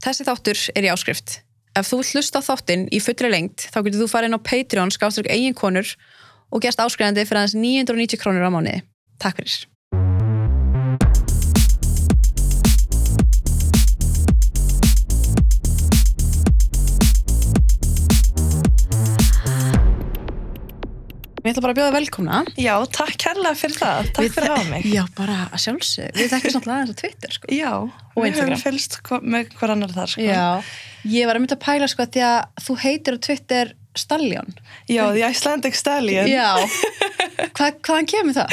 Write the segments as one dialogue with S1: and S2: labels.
S1: Þessi þáttur er í áskrift. Ef þú vilt hlusta á þáttinn í fullri lengt, þá getur þú farið inn á Patreon skástrík eiginkonur og gerst áskrifandi fyrir aðeins 990 krónur á mánuði. Takk fyrir. Ég ætla bara að bjóða velkomna.
S2: Já, takk kærlega fyrir það. Takk
S1: Við-
S2: fyrir að hafa mig.
S1: Já, bara að sjálfsög. Við þekkjum svolítið aðeins á Twitter, sko.
S2: Já,
S1: Og
S2: við
S1: Instagram.
S2: höfum fylgst hvo- með hver annar þar, sko.
S1: Já, ég var að mynda að pæla sko því að þú heitir á Twitter Stallion.
S2: Já, The Icelandic Stallion.
S1: Já, Hva, hvaðan kemur það?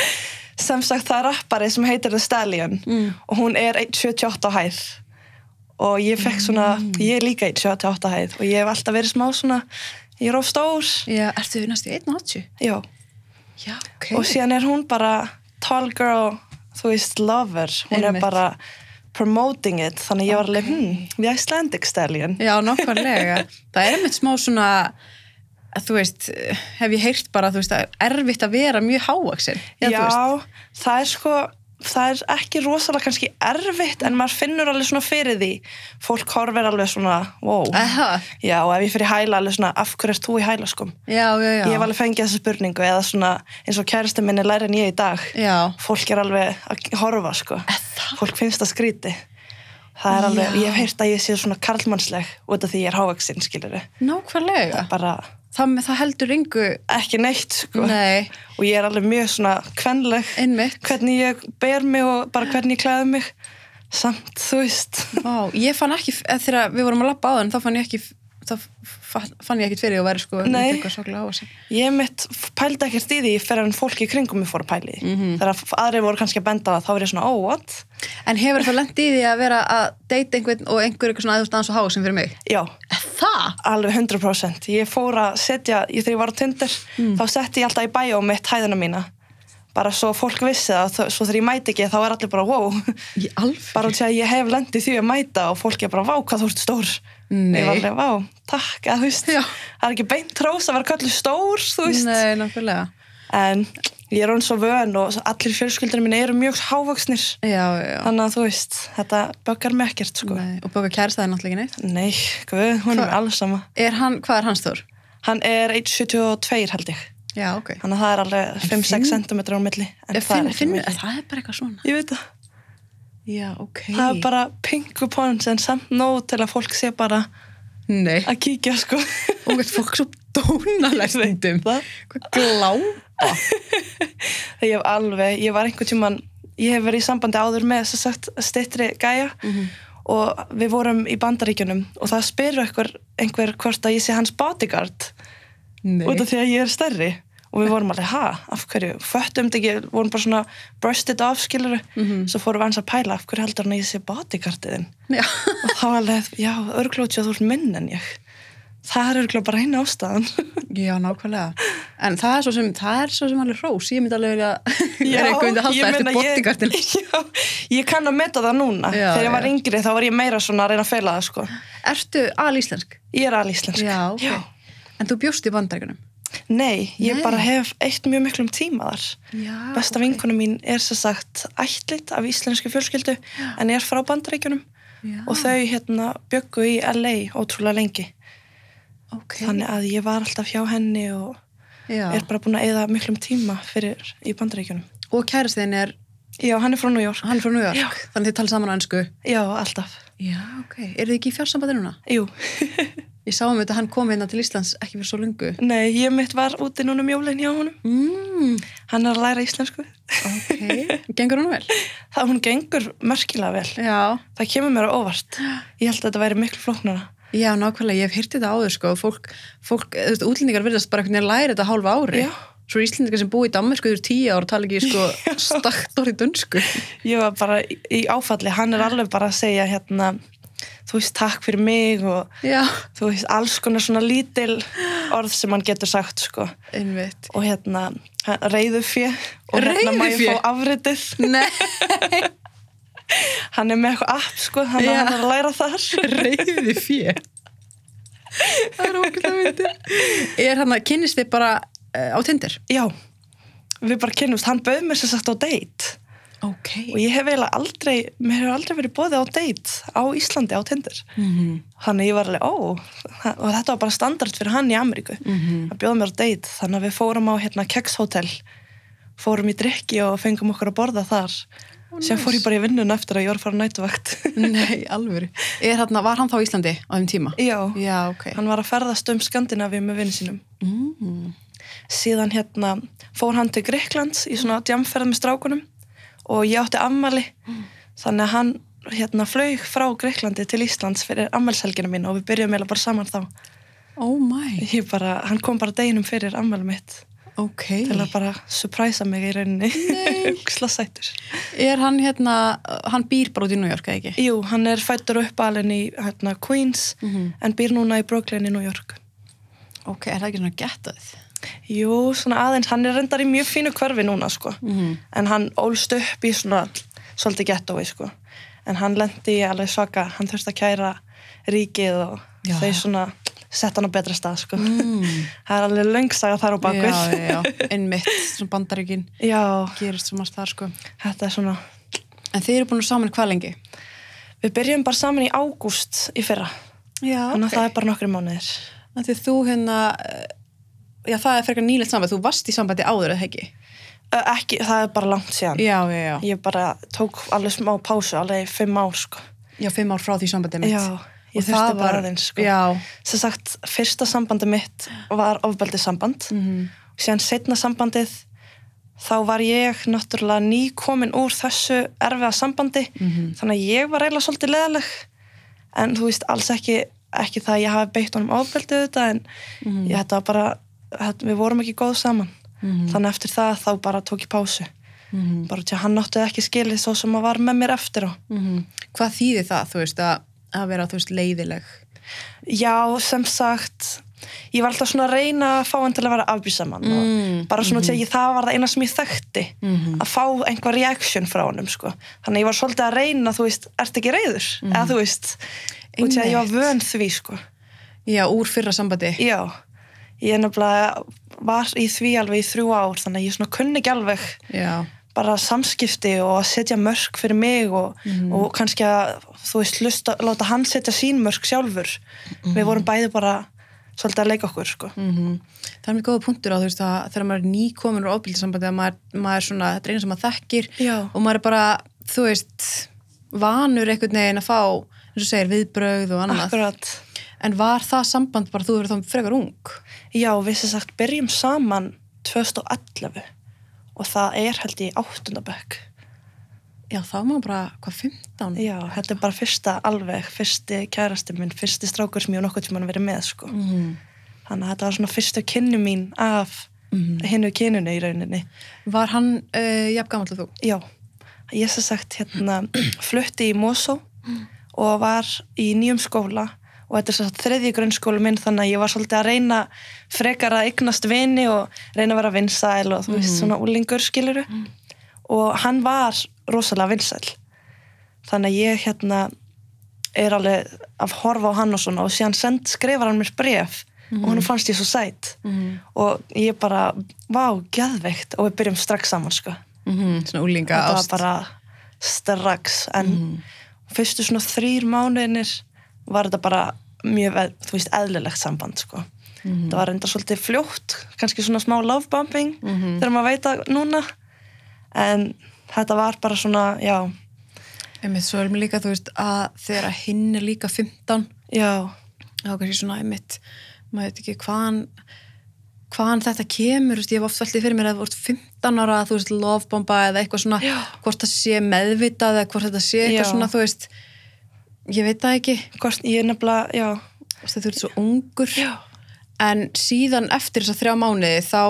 S2: Sem sagt, það er rappari sem heitir The Stallion
S1: Mm.
S2: og hún er 1,78 á hæð. Og ég fekk svona, ég er líka 1,78 á hæð og ég hef alltaf verið smá svona, ég er of stór.
S1: Já, ertu við næstu í 1.80?
S2: Já,
S1: Já, ok.
S2: og síðan er hún bara tall girl, þú veist, lover. Hún
S1: Einmitt.
S2: er bara promoting it, þannig ég var alveg, hmm, The Icelandic Stallion.
S1: Já, nokkvarlega. það er einmitt smá svona, að þú veist, hef ég heyrt bara, þú veist, að erfitt að vera mjög hávaksinn.
S2: Já, það er sko það er ekki rosalega kannski erfitt en maður finnur alveg svona fyrir því fólk horfir alveg svona wow.
S1: Aha,
S2: já og ef ég fyrir hæla alveg svona af hverju ert þú í hæla skum
S1: já, já, já.
S2: ég hef alveg fengið þessa spurningu eða svona eins og kæristi minni læri en ég í dag
S1: Já.
S2: fólk er alveg að horfa sko
S1: Það?
S2: fólk finnst það skríti það er alveg,
S1: Já.
S2: ég hef heyrt að ég sé svona karlmannsleg út af því ég er hávaksinn skilur
S1: Nákvæmlega.
S2: bara
S1: Það, það heldur yngu,
S2: ekki neitt sko
S1: nei,
S2: og ég er alveg mjög svona kvenleg
S1: einmitt.
S2: hvernig ég ber mig og bara hvernig ég klæði mig samt, þú veist
S1: Vá, ég fann ekki, eða þegar við vorum að labba á þann, þá fann ég ekki, þá fa- fann ég ekkit fyrir því að vera sko,
S2: Nei.
S1: ekki eitthvað svolítið á þessu.
S2: ég mitt pældi ekkert í því fyrir en fólki í kringum mig fór að pæli mm
S1: Mhm.
S2: -hmm. þegar aðrir voru kannski að benda á það þá var ég svona, oh what?
S1: En hefur það lendið í því að vera að deyta einhvern og einhver eitthvað svona aðeins aðeins og há sem fyrir mig?
S2: Já,
S1: Er Það?
S2: alveg 100% ég fór að setja, ég, þegar ég var á Tinder
S1: Mm.
S2: þá setti ég alltaf í bæjó mitt hæðina mína bara svo fólk vissi það þó- svo þegar ég mæti ekki þá er allir bara wow
S1: Í alveg?
S2: bara út í að ég hef lendið því að mæta og fólk er bara, vá, hvað þú ert stór
S1: Nei.
S2: ég var alveg, vá, takk, að þú veist
S1: Já.
S2: það er ekki beint trós að vera kallið stór þú veist,
S1: Nei, nákvæmlega.
S2: en ég er hún svo vön og allir fjölskyldurinn minni eru mjög hávaksnir
S1: Já, já, já.
S2: þannig að þú veist, þetta böggar mig ekkert sko.
S1: Nei, og bóka kærasta er náttúrulega ekki neitt.
S2: nei, guð, hún er
S1: Hvað?
S2: með alls sama
S1: Er hann, hvað er hans þór?
S2: hann er 1,72 held ég
S1: Já, ok.
S2: þannig að það er alveg
S1: finn-
S2: 5-6 cm á milli en
S1: Ég
S2: það
S1: Finn,
S2: er ekki
S1: finn,
S2: mikið.
S1: það er bara eitthvað svona.
S2: ég veit það,
S1: Já, ok.
S2: það er bara pingu pons en samt nóg til að fólk sé bara
S1: Nei,
S2: að kíkja sko
S1: og veit fólk svo dónalæstundum.
S2: það
S1: Hvað glápa?
S2: ég hef alveg, ég var einhvern tíman ég hef verið í sambandi áður með sem sagt stittri gæja og við vorum í bandaríkjunum og það spyrir einhver, einhver hvort að ég sé hans bodyguard
S1: Nei.
S2: út af því að ég er stærri og við vorum alveg, ha, af hverju, föttum þetta ekki vorum bara svona brushed it off skilur
S1: Mhm.
S2: svo fórum við hans að pæla, af hverju heldur hann að ég sé bodyguardiðin
S1: Já.
S2: og þá alveg, já, örgla út sér að þú ert minn en ég það er örgla bara eina ástæðan
S1: Já, nákvæmlega. En það er svo sem, það er svo sem alveg hrós. Ég myndi alveg vilja, er eitthvað myndi að
S2: ég
S1: halda eftir
S2: meina, ég-
S1: bottingartin.
S2: Já, ég kann að meta það núna.
S1: Já,
S2: Þegar ég var
S1: já.
S2: yngri þá var ég meira svona að reyna að fela það, sko.
S1: Ertu alíslensk?
S2: Ég er alíslensk.
S1: Já, ok. En þú bjóst í bandaríkunum?
S2: Nei,
S1: Nei.
S2: ég
S1: Ah,
S2: bara hef eitt mjög miklum tíma þar.
S1: Já.
S2: Besta vinkunum mín er sem sagt ætlit af íslensku fjölskyldu en er frá bandaríkjunum
S1: Já,
S2: og þau hérna byggu í LA ótrúlega lengi.
S1: ok.
S2: Þannig að ég var alltaf hjá henni og
S1: Já.
S2: er bara búin að eyða miklum tíma fyrir í bandaríkjunum.
S1: Og kærastiðin er,
S2: Já, hann er frá New York.
S1: hann er frá New York.
S2: Já.
S1: Þannig þið tala saman á ennsku.
S2: Já, alltaf.
S1: Já, ok. Eru þið ekki í fjársambandi núna?
S2: Jú.
S1: Ég sá um þetta að hann kom hérna til Íslands ekki fyrir svo lungu.
S2: Nei, ég mitt var úti núna um jólinn hjá honum.
S1: Mm,
S2: Hann er að læra íslensku.
S1: ok. Gengur hún vel?
S2: Það hún gengur merkilega vel.
S1: Já.
S2: Það kemur mér á óvart.
S1: Ah.
S2: Ég held að þetta væri miklu flóknara.
S1: Já, nákvæmlega, ég hef hýrt þetta áður sko, fólk, fólk þú veist, útlendingar verðast bara einhvern veginn læra þetta hálfa ári.
S2: Já.
S1: Svo Íslendingar sem búið í Danmarku yfir tíu ár og tala ekki sko stakt orðið dönsku.
S2: Ég var bara í í áfalli. Hann er alveg bara að segja hérna, þú veist, takk fyrir mig og
S1: Já,
S2: þú veist, alls konar svona lítil orð sem hann getur sagt, sko.
S1: einmitt.
S2: Og hérna, reyðufjö. Og hérna má ég
S1: Reiðufé?
S2: fá afritið.
S1: Nei,
S2: Hann er með eitthvað app, sko, þannig
S1: Já.
S2: að hann er að læra þar.
S1: reyði fjö. Það er okkur það myndi. Er hann að kynnist þið bara uh, á Tinder?
S2: Já, við bara kynnumst. Hann bauð mér sér sagt á date.
S1: ok
S2: og ég hef eiginlega aldrei, mér hefur aldrei verið bóðið á date á Íslandi á Tinder
S1: Mhm.
S2: þannig að ég var alveg, ó og þetta var bara standard fyrir hann í Ameríku
S3: Mhm.
S2: að bjóða mér á date, þannig að við fórum á hérna kekshótel fórum í drikki og fengum okkur að borða þar
S3: Ó,
S2: sem fór ég
S3: nice.
S2: bara í vinnun eftir að ég var að fara á nætuvakt
S1: Nei, alvöru. Er þarna, var hann þá á Íslandi á þeim tíma?
S2: já,
S1: Já, ok.
S2: hann var að ferðast um Skandinavíu með vinn sínum
S1: Mm.
S2: síðan hérna fór hann til Greiklands í svona djamferð með strákunum og ég átti ammali
S3: Mm.
S2: þannig að hann hérna flög frá Greiklandi til Íslands fyrir ammælshelgina mín og við byrjuðum eiginlega bara saman þá
S1: Oh my,
S2: ég bara, hann kom bara deginum fyrir ammæli mitt
S1: ok.
S2: til að bara surpræsa mig í rauninni hugslag sætur
S1: Er hann hérna, hann býr bara út í New York, eða ekki?
S2: Jú, hann er fættur uppalinn í hérna, Queens
S1: Mhm.
S2: en býr núna í Brooklyn í New York
S1: Ok, er það ekki svona gettað?
S2: Jú, svona aðeins, hann er reyndar í mjög fínu hverfi núna sko
S1: Mm.
S2: en hann ólst upp í svona svolítið gettói sko en hann lendi í alveg svaka, hann þurfti að kæra ríkið og
S1: Já.
S2: þau svona sett hann á betra stað sko
S1: Mm.
S2: það er alveg löngsaga þar á bakvið
S1: Já, já, já, einmitt, svona bandaríkin
S2: Já,
S1: gerist svo margt þar, sko.
S2: þetta er svona
S1: En þið eru búin að saman hvað lengi?
S2: við byrjum bara saman í ágúst í fyrra
S1: Já,
S2: þannig að það er bara nokkri mánuðir
S1: Af því að þú hérna, eh, já, það er frekar nýlegt samband, þú varst í sambandi áður, eða ekki?
S2: Ö, ekki, það er bara langt síðan
S1: Já, já, já.
S2: ég bara tók alveg smá pásu alveg í fimm ár sko
S1: Já, fimm ár frá því sambandi mitt.
S2: Já, ég
S1: Og það
S2: þurfti
S1: var-
S2: bara aðeins sko
S1: Já.
S2: sem sagt, fyrsta sambandi mitt var ofbeldið samband
S1: Mhm,
S2: og síðan setna sambandið þá var ég náttúrulega nýkomin úr þessu erfiða sambandi þannig að ég var eiginlega svolítið leðaleg en þú veist alls ekki ekki það að ég hafi beitt honum ofbeldið þetta en ég, þetta var bara þetta, við vorum ekki góð saman þannig að eftir það þá bara tók ég pásu
S1: Mhm.
S2: bara til að hann átti það ekki skilið svo sem að var með mér eftir á
S1: mhm. Hvað þýðir það, þú veist, að, að vera, þú veist, leiðileg?
S2: Já, sem sagt ég var alltaf svona að reyna að fá hann til að vera afbýsamann
S1: Mm, Mhm.
S2: og bara svona til að ég það var það eina sem ég þekkti að fá einhver reaction frá honum sko. þannig að ég var svolítið að reyna þú veist, ert ekki reyður eða þú veist, og til að ég var
S1: Mhm. Einmitt.
S2: vön því sko.
S1: Já, úr fyrra sambandi.
S2: já, ég nefnilega var í því alveg í þrjú ár þannig að ég svona kunni ekki alveg
S1: Já.
S2: bara samskipti og að setja mörk fyrir mig og,
S1: Mhm.
S2: og kannski að þú veist, lusta, láta hann setja sín mörk sjálfur við
S1: Mhm.
S2: vorum bæði bara svolítið að leika okkur sko.
S1: Mm Það er mjög góða punktur á þú veist að þegar maður er nýkomin úr ofbildisambandi að maður, maður er svona, þetta er eina sem maður þekkir
S2: Já.
S1: og maður er bara, þú veist, vanur einhvern veginn að fá, eins og segir, viðbrögð og annað.
S2: Akkurat
S1: En var það samband bara þú verið þá frekar ung?
S2: Já, við sem sagt byrjum saman 2011 og það er held ég áttundabökk
S1: Já, þá var maður bara, hvað, 15?
S2: Já, þetta er bara fyrsta alveg fyrsti kærasti minn, fyrsti strákur sem ég hef nokkuð tímann verið með sko.
S1: Mhm.
S2: þannig að þetta var svona fyrstu kynnu mín af
S1: Mhm.
S2: hinnu kynnunu í rauninni
S1: Var hann uh, jafn gamall og þú?
S2: Já, ég sem sagt hérna flutti í Mosó og var í nýjum skóla og þetta er sem sagt þriðji grunnskóla minn þannig að ég var svolítið að reyna frekar að eignast vini og reyna að vera vinsæl og þú veist svona úlingur skiluru og hann var rosalega vinsæl þannig að ég hérna er alveg að horfa á hann og svona og síðan send, skrifar hann mér bref og hann fannst ég svo sæt
S1: Mhm.
S2: og ég bara, vá, geðveikt og við byrjum strax saman sko
S1: Mhm. Svona úlinga
S2: þetta
S1: ást.
S2: var bara strax en fyrstu svona þrýr mánuðinir var þetta bara mjög, ve- þú veist, eðlilegt samband sko. það var enda svolítið fljótt kannski svona smá lovebombing þegar maður veit að núna en þetta var bara svona já,
S1: Einmitt, svo erum líka, þú veist, að þegar hinn er líka 15,
S2: já,
S1: þá kannski svona einmitt maður veit ekki hvaðan hvaðan þetta kemur, þú veist, ég hef oft veldið fyrir mér að þú ert 15 ára, þú veist, lovebomba eða eitthvað svona,
S2: Já.
S1: hvort það sé meðvitað eða hvort þetta sé eitthvað
S2: Já.
S1: svona, þú veist ég veit það ekki,
S2: hvort ég nefnilega já,
S1: þú veist, þú ert svo ungur
S2: já,
S1: en síðan eftir þess að þrjá mánuði þá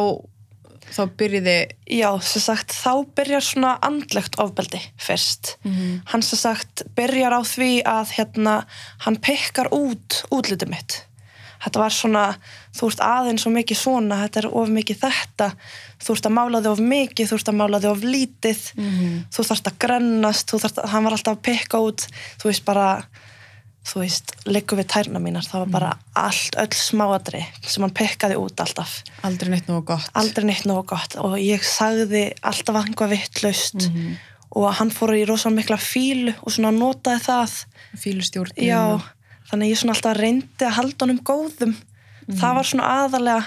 S1: þá byrjiði
S2: já, sem sagt þá byrjar svona andlegt ofbeldi fyrst
S1: Mhm.
S2: hann sem sagt byrjar á því að hérna, hann pekkar út útlitið mitt þetta var svona, þú ert aðeins og mikið svona, þetta er of mikið þetta þú ert að mála þig of mikið, þú ert að mála þig of lítið þú þarft að grennast, þú þarft að, hann var alltaf að pekka út, þú veist bara þú veist, liggur við tærna mínar það var bara allt, öll smáadri sem hann pekkaði út alltaf
S1: aldrei neitt nógu gott
S2: aldrei neitt nógu gott og ég sagði alltaf einhvað vittlaust og hann fór í rosa mikla fílu og svona notaði það
S4: fílustjórn
S2: já, þannig að ég svona alltaf reyndi að halda honum góðum það var svona aðalega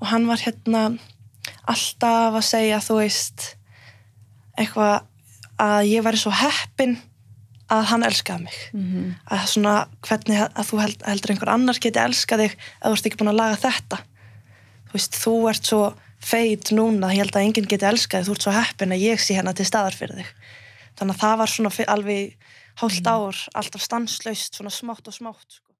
S2: og hann var hérna alltaf að segja þú veist eitthvað að ég væri svo heppin að hann elskaði mig
S1: Mhm.
S2: að svona hvernig að þú held, heldur einhver annar geti elskað þig að þú ert ekki búin að laga þetta þú veist, þú ert svo feit núna, ég held að enginn geti elskað þig þú ert svo heppin að ég sé hérna til staðar fyrir þig þannig að það var svona fi- alveg hálft ár, alltaf stanslaust, svona smátt og smátt sko.